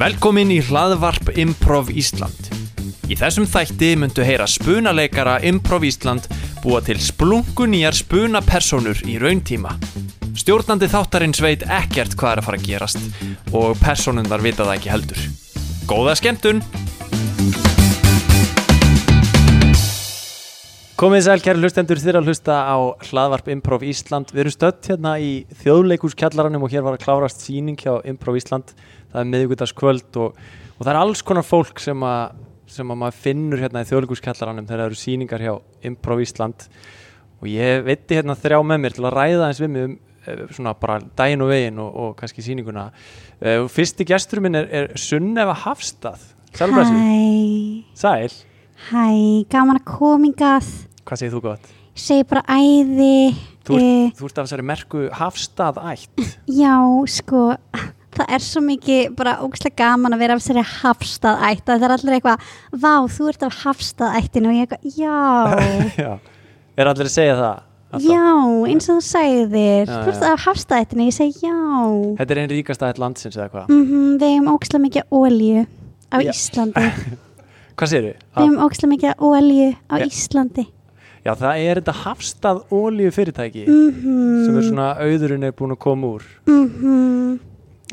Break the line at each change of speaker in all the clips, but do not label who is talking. Velkomin í hlaðvarp Improv Ísland. Í þessum þætti myndu heyra spunaleikara Improv Ísland búa til splunkunýjar spunapersonur í rauntíma. Stjórnandi þáttarins veit ekkert hvað er að fara að gerast og personundar vita það ekki heldur. Góða skemmtun! Komið sæl kæri hlustendur þeirra að hlusta á hlaðvarp Improv Ísland. Við erum stött hérna í þjóðleikúskjallaranum og hér var að klárast síning hjá Improv Ísland. Það er miðvíkudagskvöld og, og það er alls konar fólk sem, að, sem að maður finnur hérna í þjóðleikúskjallaranum þegar það eru síningar hjá Improv Ísland. Og ég veitti hérna þrjá með mér til að ræða eins við mig um eh, svona bara daginn og veginn og, og kannski síninguna. Eh, og Fyrsti gestur minn er, er Sunnefa Hafstað. Sæl, Brasi.
Hæ,
Sæl.
hæ, gaman að komingað,
Hvað segir þú gott?
segi bara æði,
Þú
eh,
ert, þú ert af þessari merku hafstað ætt
já, sko, það er svo mikið bara ógslag gaman að vera af þessari hafstaðætt, það er allir eitthvað, vá, þú ert af hafstaðættinu og ég eitthvað, já,
Já. Er allir að segja það? alltaf?
já, eins og þú sagðir,
Já,
þú ert
já.
af hafstaðættinu, ég segi já, mm
Þetta er einn ríkasta ætt landsins eða hvað?
við hefum ógslag mikið ólju á
Já.
Íslandi,
Hvað segir
við
þið?
hefum ógslag mikið ólju á
Já.
Íslandi,
Já, það er þetta hafstað ólíu fyrirtæki
mhm,
sem er svona auðurinn er búin að koma úr
mhm,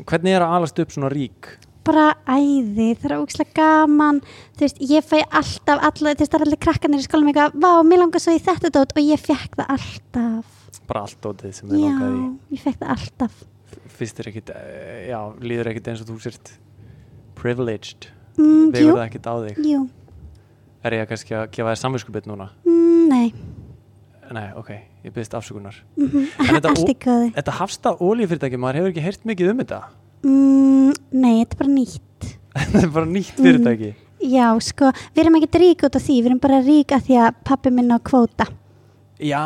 Hvernig er að alast upp svona rík?
bara æði, það er ógslag gaman þú veist, ég fæ alltaf alla, þú veist, það er allir krakkanir í skólanum eitthvað vá, mér langar svo í þetta dót og ég fekk það alltaf
Bara allt ótið sem er
já,
langaði í
ég fekk það alltaf
Fyrst er ekkit, eh, já, líður ekkit eins og þú sért privileged
mm,
Vegur
jú,
það ekkit á þig?
jú,
Er ég kannski að gefa þér samvinskupið núna?
mm, nei
Nei, ok, ég byrðist afsökunar
mhm,
En þetta ó-
allt í góði
Þetta hafstað ólíu fyrirtæki, maður hefur ekki heyrt mikið um þetta
mm, nei, þetta er bara nýtt
Þetta er bara nýtt fyrirtæki
já, sko, við erum ekkert rík út af því við erum bara rík af því að pappi minn á kvóta
Já,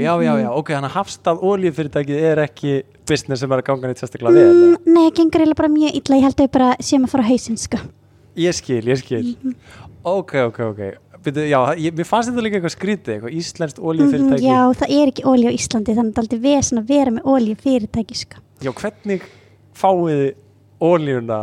já, já, já, ok, þannig að hafstað oljufyrirtækið er ekki business sem er að ganga neitt sérstaklega vel
mm,
eða?
nei, gengur eiginlega bara mjög illa ég held að við bara séum að fara á hausinn, sko
Ég skil, ég skil
Mm.
Ok, ok, ok Byrju, Já, ég, mér fannst þetta líka eitthvað skrítið eitthvað íslenskt
mm,
oljufyrirtæki
já, það er ekki ólíu á Íslandi þannig að það er aldrei vesen að vera með ólíu sko
Já, hvernig fáið þið oljuna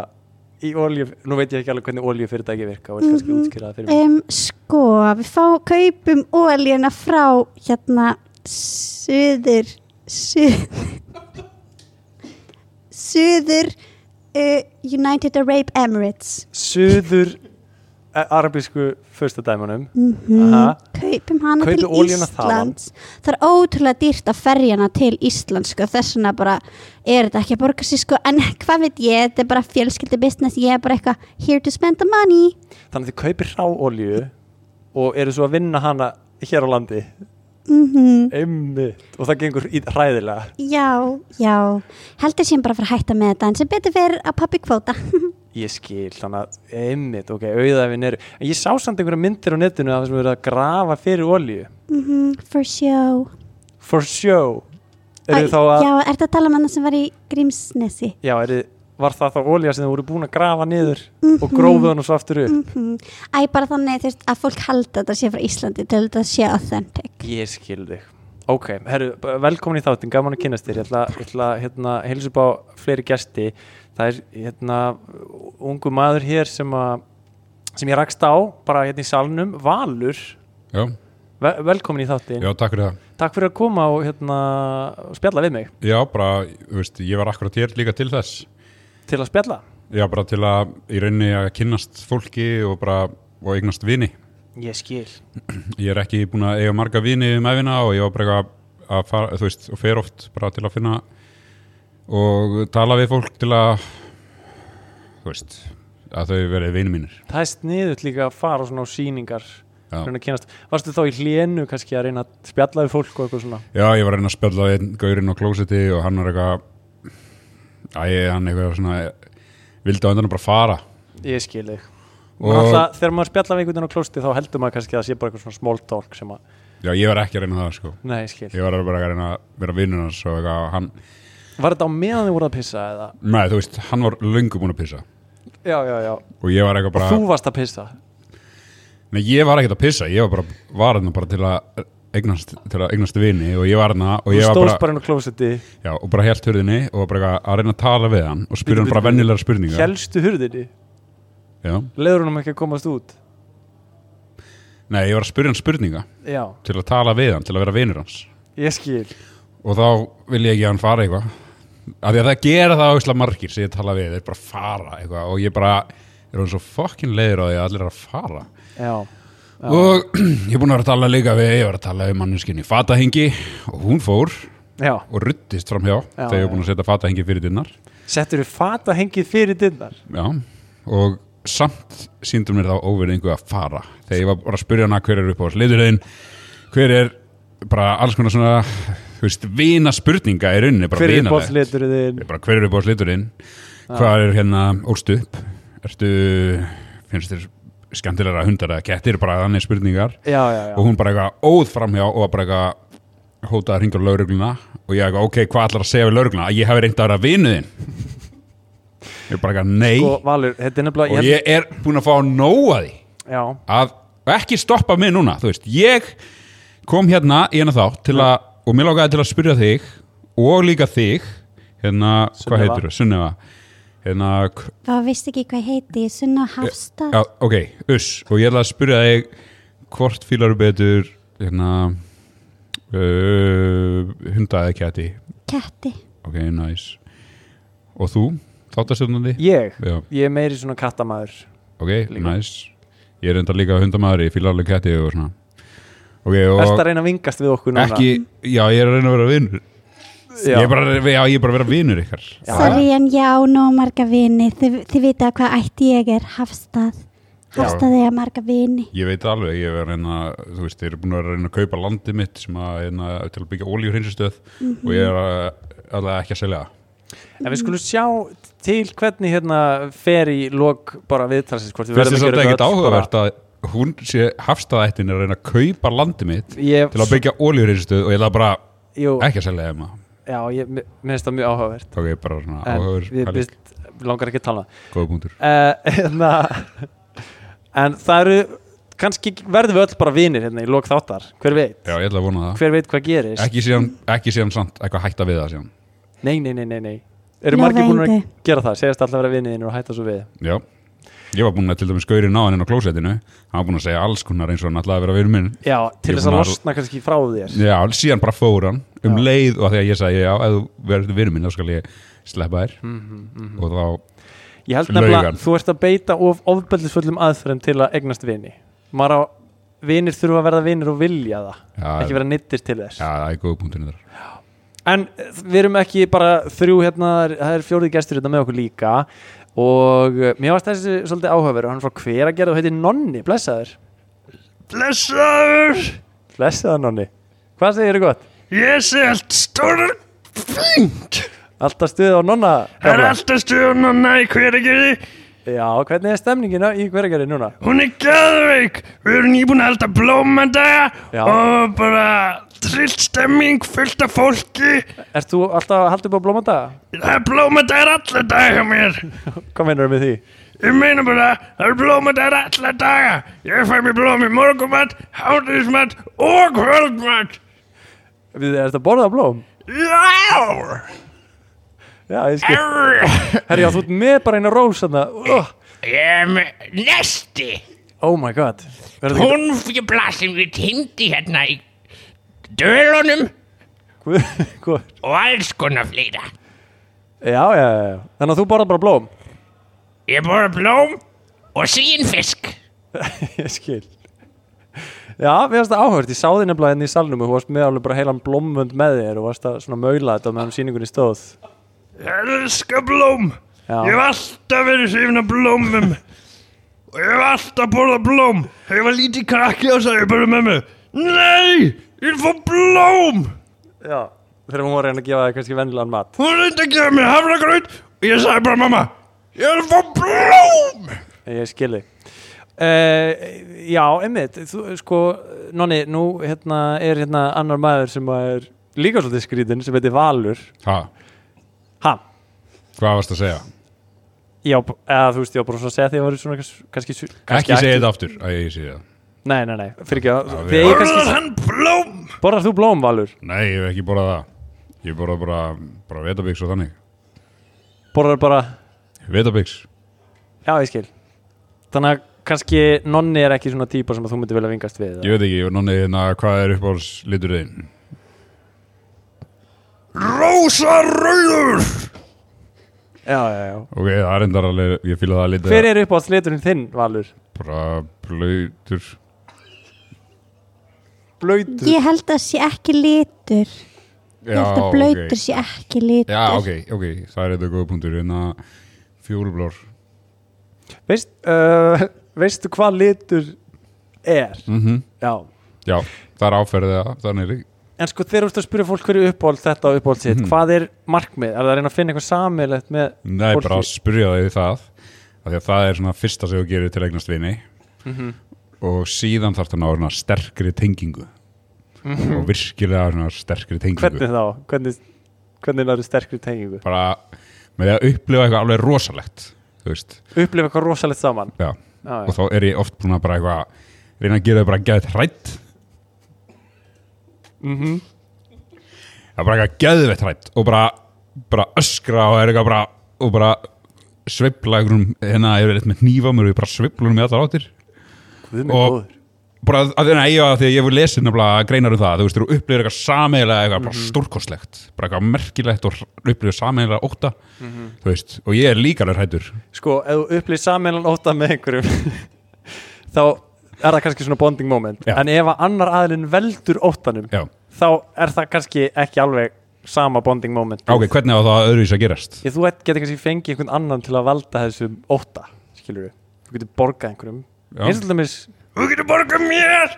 í olju Nú veit ég ekki alveg hvernig oljufyrirtæki virka og er kannski útskýrað fyrir mig
um, Sko, við fá, kaupum ólíuna frá hérna Suður Suður Suður uh, United Arab Emirates
Suður eh, arabísku fyrstadæmanum
mm
Aha.
Kaupum hana
Kaupið
til
olíuna þaðan.
Íslands Það er ótrúlega dýrt að ferja hana til Íslands sko. Þess vegna bara er þetta ekki að borga sig sko. En hvað veit ég, þetta er bara fjölskyldi business Ég er bara eitthvað here to spend the money
Þannig að þið kaupir rá olju og eru svo að vinna hana hér á landi
Mhm
Eh. Einmitt, og það gengur í, hræðilega
Já, já, heldur sem bara að fara að hætta með þetta en sem betur fyrir að pappi kvóta
Ég skil, þannig að einmitt, ok, auðæfin eru En ég sá samt einhverja myndir á netinu af það sem verið að grafa fyrir olíu
mm For show
For show Eru
Æ,
þá að,
Já, ertu að tala um hana sem var í Grímsnesi
já, eru, var það þá olíu sem þau voru búin að grafa niður og grófið hann og svo aftur upp
Mhm. Æ, bara þannig þú veist, að fólk halda þetta sé frá Íslandi til þetta sé authentic
Ég skil þig Ok, herru, b- velkomin í þáttinn, gaman að kynast þér Ég ætla, ég ætla hérna, heilsa upp á fleiri gesti Það er hérna ungu maður hér sem að sem ég rakst á, bara hérna í salnum Valur,
Já,
Vel, velkomin í þáttinn
já, takk fyrir það.
Takk fyrir að koma og hérna, og spjalla við mig
Já, bara, þú veist, ég var akkurat hér líka til þess.
til að spjalla.
Já, bara til að í rauninni að kynnast fólki og bara og eignast vini.
Ég skil.
Ég er ekki búin að eiga marga vini um æfina og ég var bara eitthvað að fara, þú veist, og fer oft bara til að finna og tala við fólk til að, þú veist, að þau verið vini mínir.
Það er sniðut líka að fara svona á sýningar.
Já.
reyna að kynnast. Varstu þá í hlénu kannski að reyna að spjalla við fólk og eitthvað svona?
Já, ég var að reyna að spjalla við einn gaurinn á klósiti og hann var eitthvað, æ, hann eitthvað svona, vildi á endan bara fara.
Ég skil þig. Og
Og-
alltaf þegar maður spjalla við einhvern veginn á klósti þá heldur maður kannski að það sé bara eitthvað svona small talk sem að,
Já, ég var ekki að reyna það, sko.
nei, ég skil.
ég var bara að reyna að vera vinnur hans og eitthvað, hann,
Var þetta á meðan þið voru að pissa eða?
nei þú veist, hann var löngu búinn að pissa
Já, já, já.
og ég var eitthvað bara,
Þú varst að pissa.
nei ég var ekkert að pissa, ég var bara, var hann bara til að eignast, til að eignast vini og ég var hana og
Þú
ég var
stóðst
bara,
bara inn á klósetti,
já, og bara helt hörðinni og bara eitthvað að reyna að tala við hann og
Bíddu,
spyrja hann bara
bíddu, bíddu.
vennilegar spurningar
helstu hurðinni
já.
leiður húnum ekki að komast út
Nei, ég var að spyrja hann spurninga
já,
til að tala við hann, til að vera vinur hans
ég skil
og þá vil ég ekki að hann fara eitthvað af því að það gera það auðvitað margir sem ég tala við, þeir bara fara eitthvað og ég bara, er hann svo fokkin leiður á því að allir er að fara
já,
og ég er búin að vera að tala líka við ég var að tala við manninskinni fatahengi og hún fór
já,
og ruttist framhjá
Já,
þegar ég
já.
er búin að setja fatahengi fyrir dinnar
settur við fata hengið fyrir dinnar
já, og samt síndum mér þá óverðingu að fara þegar ég var bara að spyrja hana hver er upp á liturinn hver er bara alls konar svona þú veist, vina spurninga í rauninni bara
hver er
vinalegt.
bóðslitur þinn
Ég bara, hver er upp á sliturinn hvað er hérna ólst upp ertu, finnst þér skemmtilega hundar eða kettir, bara þannig spurningar
já, já, já, Sko,
og hún bara eitthvað óð framhjá og bara eitthvað hótaði að ringa laurugluna og ég eitthvað, ok, hvað ætlar að segja við laurugluna að ég hafi reynd að vera vinuðinn ég bara eitthvað, nei
sko Valur, þetta er nefnilega
og
ég,
ég er búin að fá að nóa því
já,
að og ekki stoppa mig núna, þú veist ég kom hérna í hérna þá til að, og mér lákaði til að spyrja þig og líka þig hérna, hvað
Sunnefa.
heitir þú, Sunneva hérna, k-
þá veist ekki hvað ég heiti Sunna Hafstad
já, ok, uss og ég ætla að spyrja þig hvort fílar betur hérna uh, hunda eða kæti
Ketti
ok, nice og þú, þáttastjórnandi
ég
já,
ég er meiri svona kattamæður
ok,
Líka.
nice ég er enda líka hundamaður, ég fílar alveg kæti og svona ok, og
Ertu að reyna að vingast við okkur núna
ekki, já ég er að reyna að vera vinur
já.
ég er bara, já, ég er bara að vera vinur ykkar
Já.
Sorry en já, nóg marga vini Þið, þið vita hvað ætti ég er Hafstað Hafstað eiga marga vini
ég veit alveg, ég er að reyna þú veist, ég er búin að vera að reyna að kaupa landið mitt sem að, hérna, til að byggja olíuhreinsistöð og ég er að, alveg ekki að selja það
En við skulum sjá til hvernig hérna fer í lok bara viðtalsins hvort við
finnst þess að
verðum að
þetta ekkit
gera öll bara-
áhugavert að hún sé hafstaðættin er að reyna að kaupa landið mitt
Ég,
til að byggja olíuhreinsistöð og ég ætla bara
jú,
ekki að selja þeim að
já, ég, mér mér finnst það mjög áhugavert
þá er ég bara svona
En
áhugaverð
við,
pæling,
við, við langar ekki að tala
góða punktur
uh, hérna, En það eru kannski verðum við öll bara vinir hérna í lok þáttar Hver veit,
já, ég ætla að vona það
hver veit hvað gerist
ekki síðan, ekki síðan samt, eitthvað hætta við það síðan
Nei, nei, nei, nei, nei Eru
Lofa
margir búin að
engu.
gera það, segjast alltaf að vera vinir þínir og hætta svo við
Já, ég var búinn að til dæmis gaurinn á hann inn á klósettinu hann var búinn að segja alls konar eins og hann ætlaði að vera vinur minn
Já, til
Ég
þess að
maður-
losna kannski frá þér
Já, síðan bara fór hann um
Já.
leið og að því að ég sagði já, ef þú verður vinur minn þá skal ég sleppa þér
Mhm,
og þá,
Ég held nefnilega
Laugan.
að þú ert að beita of ofbeldisfullum aðferðum til að egnast vini Mara, vinir þurfa að verða vinir og vilja það
já,
ekki vera nittir til þess
já það er góð punktunni þar
En eh, við erum ekki bara þrjú hérna, það er- það er fjórið gestur hérna með okkur líka og eh, mér varst þessi svolítið áhugaveru, hann er frá hver að gera og heitir Nonni, blessaður
Blessaður,
Blessaður Nonni, hvað segir þér gott?
ég sé allt stórar fínt
Alltaf stuð á Nonna gamla.
alltaf stjórn og næ hveragerði
Já, hvernig er stemningin á- í hverjargerði núna?
hún er gæðveik við erum nýbúin að halda blómandaga
Já. og
bara trillt stemming fullt af fólki
Ert þú alltaf að halda upp á blómandaga?
Það er blómadæðar alla daga mér
Hvað meinar með því?
Ég meina bara, það er blómadæðar alla daga Ég fæ mér blóm í morgumat, hátíðismat og kvöldmat
Við erum að borða blóm?
Já!
Já, ég skil Herri, já, þú ert með bara eina rós þarna oh,
Ég er með nesti,
oh my god Verður ekki
tónfjöbla sem ég tindi hérna í dölunum
Guð, guð.
og alls konar fleira.
Já, já, já já. Þannig að þú borðar bara blóm
Ég borða blóm og sín fisk.
Ég skil Já, við varst það áhört, ég sá þið nefnilega henni í salnum og þú varst með alveg bara heilan blómvönd með þér og varst að svona maula þetta meðan sýningunni stóð
Elska blóm.
Já.
Ég hef alltaf verið hrifin af blómum og ég hef alltaf borðað blóm. Þegar ég var lítið krakki og sagði ég bara með mig, nei, ég vil fá blóm.
Já, þegar hún var að reyna að gefa þér kannski vennilegan mat
Hún reyndi að gefa mér hafragraut og ég sagði bara mamma, ég vil fá blóm.
Ég skil þig Uh, já, einmitt, þú, sko, Nonni, nú hérna, er hérna annar maður sem er líka svolítið skrýtin sem heitir Valur
Ha,
Hann,
hvað varst að segja?
Já, b- eða þú veist, ég var bara svona að segja því að það var svona kanns- kannski, kannski
Ekki segja þetta aftur Æ, ég segja það
Nei, nei, nei, fyrir ekki að
Já,
Þið
við-
eigið
Borðar
kannski-
hann blóm?
Borðar þú blóm, Valur?
Nei, ég hef ekki borðað það Ég borðað bara, bara vetabix og þannig
Borðar bara,
Vetabix
já ég skil Þannig að kannski nonni er ekki svona típa sem að þú myndir vel að vingast við
Ég veit ekki, nonni, hérna, hvað er uppáhalds litur þinn?
Rósa rauður!
Já, já, já
Ok, það er endar alveg, ég fýla það litur
Hver er upp á sliturinn þinn, Valur?
Bara blöytur
Blöytur
Ég held að sé ekki litur Ég held að blöytur sé ekki litur
Já, ok, ok, það er þetta góða punktur En að fjólublár
Veist, uh, Veistu hvað litur er?
mm
Já
Já, það er áferðið að þannig er-
En sko þegar þú ert að spyrja fólk hverju uppáhald þetta og uppáhald
Mhm.
sitt Hvað er markmið? Er það að reyna að finna eitthvað samilegt með
Nei,
fólki?
bara að spyrja þig það af Því að það er svona fyrsta sem þú gerir til að eignast vini Og síðan þarf það að ná svona sterkri tengingu Og virkilega svona sterkri tengingu
Hvernig þá? Hvernig, hvernig náður sterkri tengingu?
Bara með því að upplifa eitthvað alveg rosalegt Þú veist,
Upplifa eitthvað rosalegt saman
já
Já,
Og
já.
þá er ég oft búin að bara eitthvað Reyna að gera þau bara geðið hrætt
Mhm.
Það er bara eitthvað geðveitt hrætt og bara, bara öskra og er eitthvað bara og bara sveifla einhverjum hérna er eitthvað með hnífamur og ég bara sveifla um í allar áttir
Guð minn
og
góður.
bara að því að ég, því að ég hef lesið nefnilega greinar um það, þú veist, þú upplifir eitthvað sameigilega eitthvað
Mhm.
bara stórkostlegt, bara eitthvað merkilegt og upplifir sameigilega óta
Mhm.
þú veist, og ég er líka alveg hrættur
Sko, ef þú upplýst saminlan óta með einhverjum þá er það kannski svona bonding moment
Já.
en ef að annar aðlinn veldur óttanum
Já,
þá er það kannski ekki alveg sama bonding moment
ok, hvernig á það öðruvísi að gerast?
Ég, þú et- getur kannski fengið einhvern annan til að valda þessum óta, skilur við þú getur borgað einhverjum
Já.
eins og til dæmis,
Þú getur borgað mér!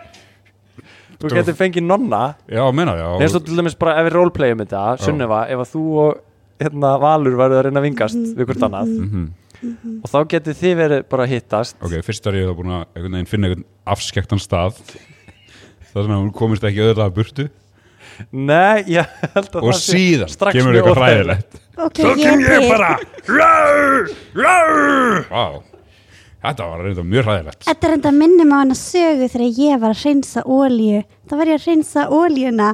þú getur fengið nonna
Já, meina, já
eins og til dæmis bara ef við roleplayum þetta, Sunneva ef að þú og hérna, Valur verður að reyna að vingast við hvort annað og þá getur þið verið bara að hittast
Mhm. Ok, fyrst er ég þá búin að einhvern veginn finna einhvern afskektan stað þar sem hún komist ekki auðvitað burtu
Nei, ég held að
og
það sé
síðan
strax
kemur
mjög
eitthvað
óþægilegt.
hræðilegt
Ok,
Þá
ég
kem
er
ég
til.
bara Rauður! Rauður!
Vá, þetta var reynda mjög hræðilegt
Þetta er enda minnum á hana sögu þegar ég var að reynsa ólíu. Þá var ég að reynsa ólíuna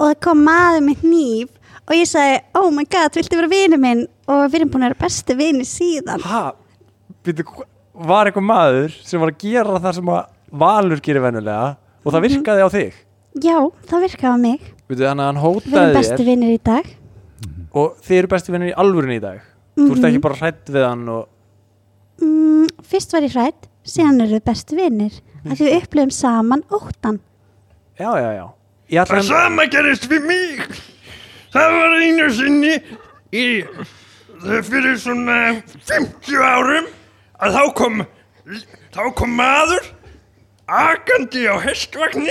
og það kom maður með nýf og ég sagði, oh my god, viltu vera vinu minn? Og við erum búin að vera bestu vini síðan.
Ha, býttu, hva- var eitthvað maður sem var að gera það sem að Valur gerir venjulega og það virkaði á þig
Já, það virkaði á mig.
Býttu, Mhm. þannig að hann
Við erum
hótaði
bestu
þér
vinir í dag.
og þið eru bestu vinnir í alvörun í dag Þú ert
Mhm.
ekki bara hrætt við hann og
Mm, fyrst var ég hrætt, síðan erum við bestu vinir. Af því við upplifum saman óttan.
já, já, já Ég ætla
Það
hann,
sama gerist við mig Það var einu sinni í, þegar fyrir svona 50 árum að þá kom þá kom maður akandi á hestvagni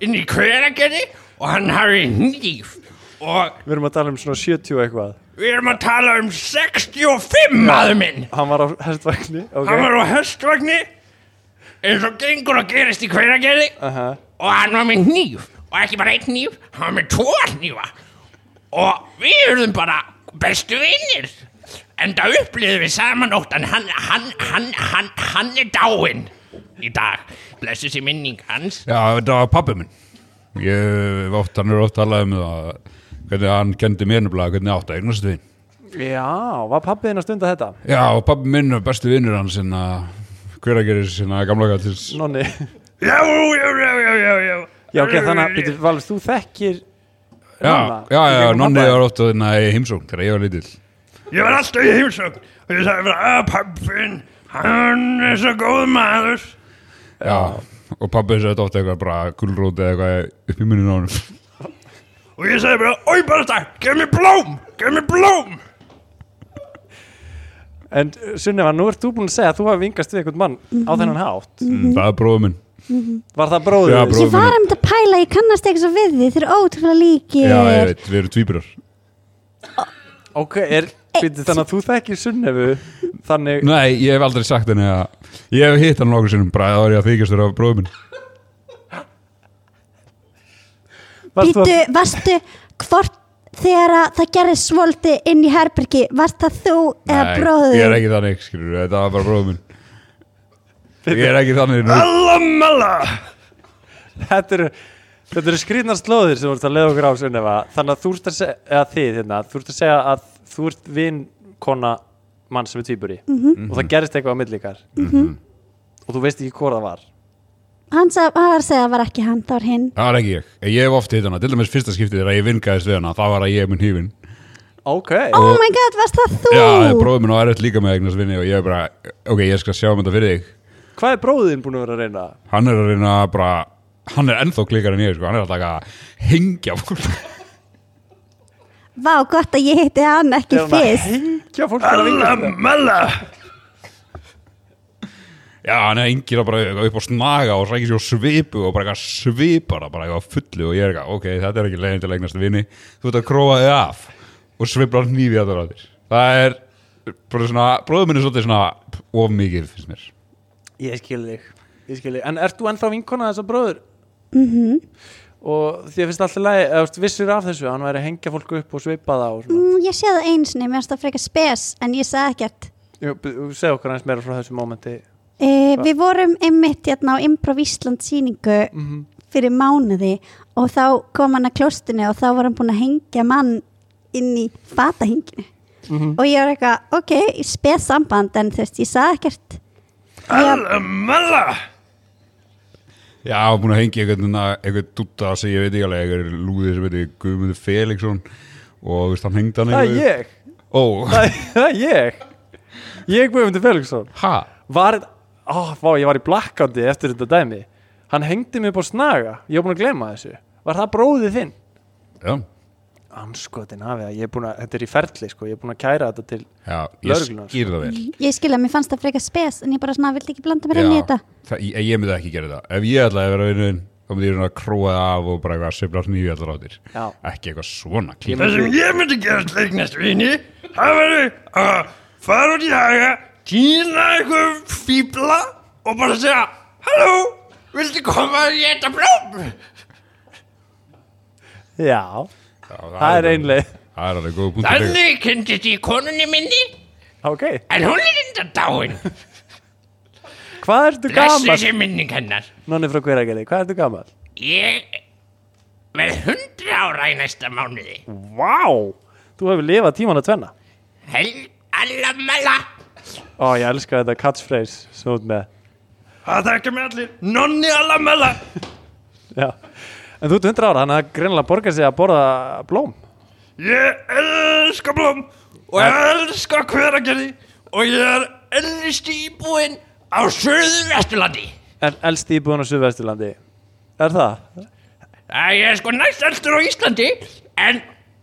inn í hveragerði og hann hafi nýf og
við erum að tala um svona 70 og eitthvað
við erum að tala um 65 maður minn
Hann var á hestvagni
hann
okay.
var á hestvagni eins og gengur og gerist í hveragerði
uh -huh.
og hann var með hníf og ekki bara einn hníf, hann var með tvo hnífa og við erum bara bestu vinnir en það upplýðum við saman ótt en hann, hann, hann, hann, hann er dáinn í dag blessu sér minning hans
Já, þetta var pappi minn Ég hef oft, hann er oft talað um það hvernig hann kendi mér nefnilega hvernig átt að eignast vin
Já, var pappiðin að stunda þetta?
Já, og pappi minn er bestu vinnur hans en að hver að gerir sinna gamla gattins
Nonni
já, já, já, já, já, já
Já, ok, þannig að, býttu, Valur, þú þekkir
Já,
Nonna, í
já, já,
gegnum
nonni
pabba þinn.
var oft að hérna í heimsókn þegar ég var lítill
ég var alltaf í heimsókn og ég sagði bara að pappin hann er svo góð maður
Já, og pappi þessi þetta oft eitthvað bara gulróti eða eitthvað upp í muninu á hann
og ég sagði bara, oi bara það, gef mér blóm gef mér blóm
En uh, Sunneva, nú ert þú búin að segja að þú hafi vingast við einhvern mann á þennan hátt
Mm, Það er bróður minn
Var það bróður?
Já,
þinn?
Ég
bróðir.
var um þetta að pæla, ég kannast ekki svo við því, þeir eru ótrúlega líkir.
Já, ég veit, við erum tvíburar
Ok, er, býttu, þannig að þú þekkir Sunnefu Þannig,
Nei, ég hef aldrei sagt henni að Ég hef hitt hann nokkur sinnum, bara þá er ég að þykjast þér af bróðum minn
varst þú
Býtu,
að,
varstu hvort þegar að það gerði svolti inn í herbergi, varst það þú eða
Nei,
bróður?
Ég er ekki þannig, skilur, þetta var bara bróðum minn Ég er ekki þannig nú
Alamala
þetta eru þetta eru skrýtnar slóðir sem voru að leiða okkur á sunnefa þannig að þú ert að segja, eða þið hérna, þú ert að segja að þú ert vinkona mann sem er tvíburi -hmm. og það gerist eitthvað á milli ykkar -hmm. og þú veist ekki hvort það var
Hann sagði, hann var að segja að það var ekki hann, það var hinn
Það er ekki ég, ég hef oft hitt hana Til dæmis fyrsta skiptið þegar ég vingaðist við hana Það var að ég mun hífin
ok,
Oh my god, varst það þú?
Já, bróðum minn og erut líka með eignast vinni Og ég er bara, ok, ég skal sjá um þetta fyrir þig
hvað er bróðin búin að vera að reyna
Hann er að reyna að bara Hann er ennþá klikkar en ég, sko Hann er alltaf að hengja fólk
Vá, gott að ég hitti hann ekki
Þegar hún að
fyrst
hengja fólk til að vinga sér.
Alamala
Já, hann er engir að bara eitthvað upp á snaga og sækir sér á svipu og bara eitthvað svipar það bara eitthvað á fullu og ég er eitthvað, ok, þetta er ekki leiðin til að eignast vini, þú ert að króa þig af og sviplar nýfi að það ráðir. Það er bara svona, bróðum minn er svolítið svona of mikið finnst mér.
ég skil þig, ég skil þig en ert þú ennþá vinkona þessa bróður -hmm. og því að finnst alltaf lægi eða þú veist, vissir af þessu, að hann væri að hengja fólk upp og svipa það og svona,
mm, Ég sé það einu sinni, mér finnst það frekar spes En ég sagði ekkert
mm. segja okkur aðeins meira frá þessu mómenti
e, Við vorum einmitt hérna á Improv Ísland sýningu
Mhm.
Fyrir mánuði Og þá kom hann að klostinu Og þá var hann búin að hengja mann Inn í fatahinginu
Mhm.
Og ég var eitthvað, ok, spes samband En þú veist, ég sagði ekkert
Alamala
Já, hann er búin að hengja einhvern veginn eitthvað dutta sem ég veit ekki alveg, eitthvað lúðið sem heitir Guðmundur Felixson og þú veist, hann hengd hann
það er ég
Ó,
Það það er ég Ég Guðmundur Felixson
ha?
Var, ó, vá, ég var í blackouti eftir þetta dæmi Hann hengdi mig upp á snaga Ég var búin að glema þessu Var það bróðið þinn?
Já,
Anskotin af það, ég er búin að, þetta er í ferli sko Ég er búin að kæra þetta til
já, ég
Lögreglunar.
skýr það vel.
Ég skil að mér fannst það frekar spes En ég bara svona vildi ekki blanda mér inn í
Já,
þetta
það, ég, ég myndi ekki gera þetta ef ég ætlaði að vera vinnuðin þá myndi ég svona að króa það af og bara eitthvað sveifla nýju allar áttir
Já.
ekki eitthvað svona
Ég
klíma
Það sem ég myndi gera til eignast vini Það verður að fara út í haga Týna eitthvað fíbla Og bara segja Halló, viltu koma að geta blóm?
Já, það er ein leið.
það er alveg góð punktur þegar.
Þannig kynntist ég konunni minni
ok
En hún er enda dáin
Hvað ertu
Þessi
gammal?
sem minning hennar
Nonni frá hverjargerði, hvað ertu gammal?
Ég verð hundra ára í næsta mánuði
Vá, þú hefur lifað tíman að tvenna
Hel, allamala
Ó, ég elska þetta catchphrase sem þú ert með
Það þekkja mig allir Nonni allamala
Já En þú ert 100 ára, þannig að það greinlega borgar sig að borða blóm
Ég elska blóm Og ég elska hveragerði Og ég er elsti íbúinn á söðu vesturlandi
En elst íbúin á Suðvesturlandi Er það?
Æ, Ég er sko næst elstur á Íslandi En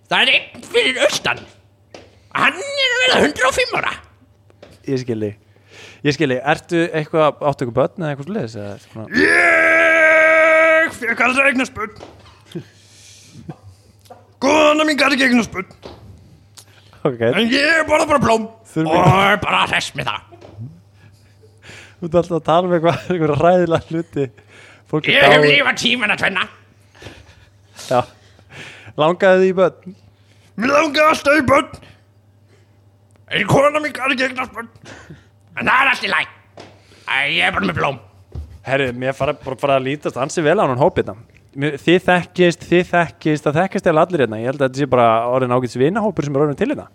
það er einn fyrir austan Hann er að vera 105 ára
Ég skilji Ég skilji, ertu eitthvað, áttu eitthvað börn eða eitthvað sliðis eða eitthvað svona?
Ég fekk aldrei eignast börn Góðan að mín gæti ekki eignast börn
Ok,
En ég borða bara blóm
Þurfum
Og
við-
er bara hress með það
þú ert alltaf að tala um eitthvað, eitthvað ræðilega hluti Fólk
Ég
er
hef
dáið
lífa tíman að tvenna
Já. Langaði því börn
Mér langaði alltaf í börn En kona mín gæti ekki eignast börn En það er allt í læ Æ, Ég er bara með blóm
Herri, mér fara bara fara að lítast ansi vel á hann hópina Mér- Þið þekkist, þið þekkist, það þekkist eða allir hérna Ég held að þetta sé bara orðin ágætis vinahópur sem er orðin til hérna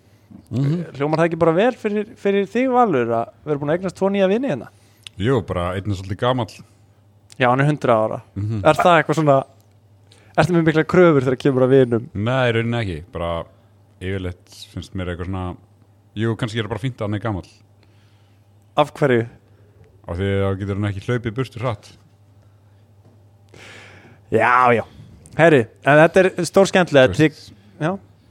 Hljómar það ekki bara vel fyrir, fyrir þig valur að vera búin að eignast tvo nýja vini hérna
jú, bara einn er svolítið gamall
Já, hann er 100 ára Er það eitthvað svona Ertu með mikla kröfur þegar kemur að vinum
nei, í rauninni ekki, bara yfirleitt finnst mér eitthvað svona jú, kannski er það bara fínt að hann er gamall
Af hverju?
af því að þá getur hann ekki hlaupið burtu hratt
Já, já Herri, en þetta er stór skemmtilega
Þú veist.
Þið- Já,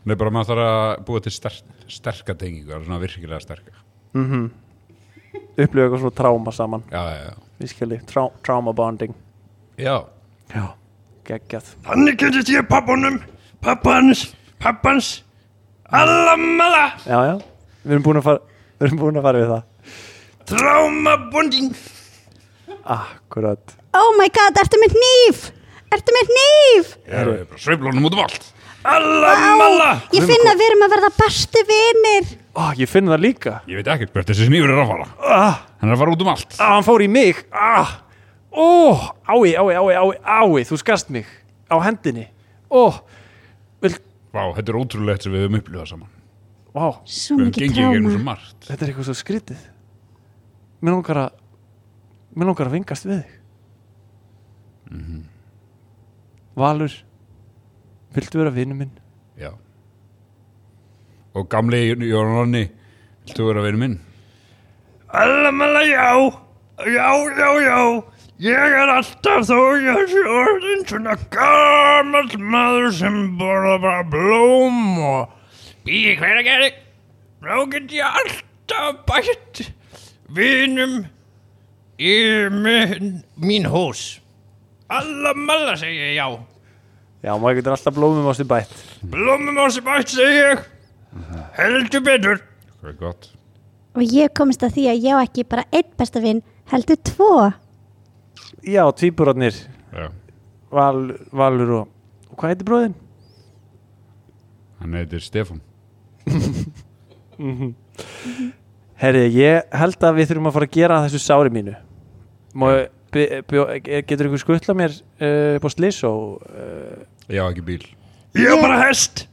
nei, bara maður þarf að búa til sterk, sterka tengingu, alveg svona virkilega sterka
upplifa eitthvað svona tráma saman
já, já, já,
Við skilji, trá, trauma bonding
já.
Já Geggjað
Þannig kynntist ég pappunum Pappans, pappans Allamala
Já, já Við erum búin að fara Við erum búin að fara við það
Trámabunding
Akkurat
Oh my god, ertu með hníf? Ertu með hníf?
Ég er bara sveiflunum út um allt
Allamala
Ég finn að við erum að verða bestu vinir
Ó, ég finn það líka
Ég veit ekkert hvert þessi snífur er að fara
ah,
Hann er að fara út um allt
ah, Hann fór í mig ah, Ó, ái, ái, ái, ái, ái Þú skast mig á hendinni Ó, vil,
Vá, þetta er ótrúlegt sem við höfum upplifað saman
vá
Svo
Við höfum
mikið
gengið í gegnum svo
tráma
margt
Þetta er eitthvað svo skrítið Mér langar að Mér langar að vingast við þig Valur Viltu vera vinnu minn?
Já Og gamli Jón Ronni Viltu vera að vera minn?
Allamala já, já, já, já, ég er alltaf þó ég sé orðin svona gamall maður sem borða bara blóm og býði hver að gera. Þá get ég alltaf bætt vinum í minn, mín hús. Allamala segi ég já.
Já, maður getur alltaf blómum á sér bætt
Blómum á sem bætt segi ég. Heldur betur.
Það er gott
Og ég komist að því að ég á ekki bara einn besta vinn heldur tvo
Já, tvíburarnir
Já
Val, Valur og Og hvað heitir bróðin?
Hann heitir Stefán
Herri, ég held að við þurfum að fara að gera að þessu sári mínu Má, bjó, bjó, Getur ykkur skutla mér uh, upp á slís og uh,
Ég á ekki bíl
Ég er bara hest.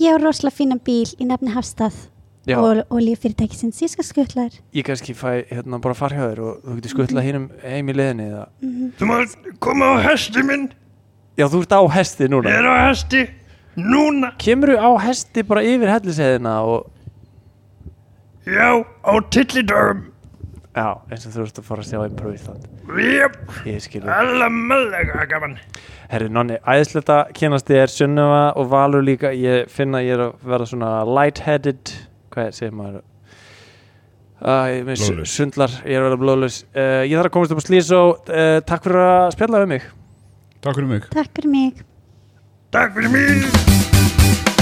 Ég á rosalega fína bíl í nafni Hafstað
Já,
og, og líffyrirtækisins ég skal skutla þér
ég kannski fæ hérna bara farhjóður og þú getur
Mhm.
skutlað hínum heim í leðinni eða
Þú maður koma á hesti minn.
Já, þú ert á hesti núna
Ég er á hesti. Núna.
Kemur þú á hesti bara yfir helliseiðina og
Já, á tillidörum.
Já, eins og þú ert að fara að sjá Impro Ísland
Jep,
Ég skilur
allamallega gaman.
Herri Nonni, æðislega kynast ég er Sunnuva og Valur líka Ég finn að ég er að vera svona lightheaded Hvað segir maður? Uh,
Blóðlaus.
blóðlaus Sundlar, ég er að vera blóðlaus uh, Ég þarf að komast upp á slís og uh, takk fyrir að spjalla um mig
Takk fyrir mig
Takk fyrir mig
Takk fyrir mig.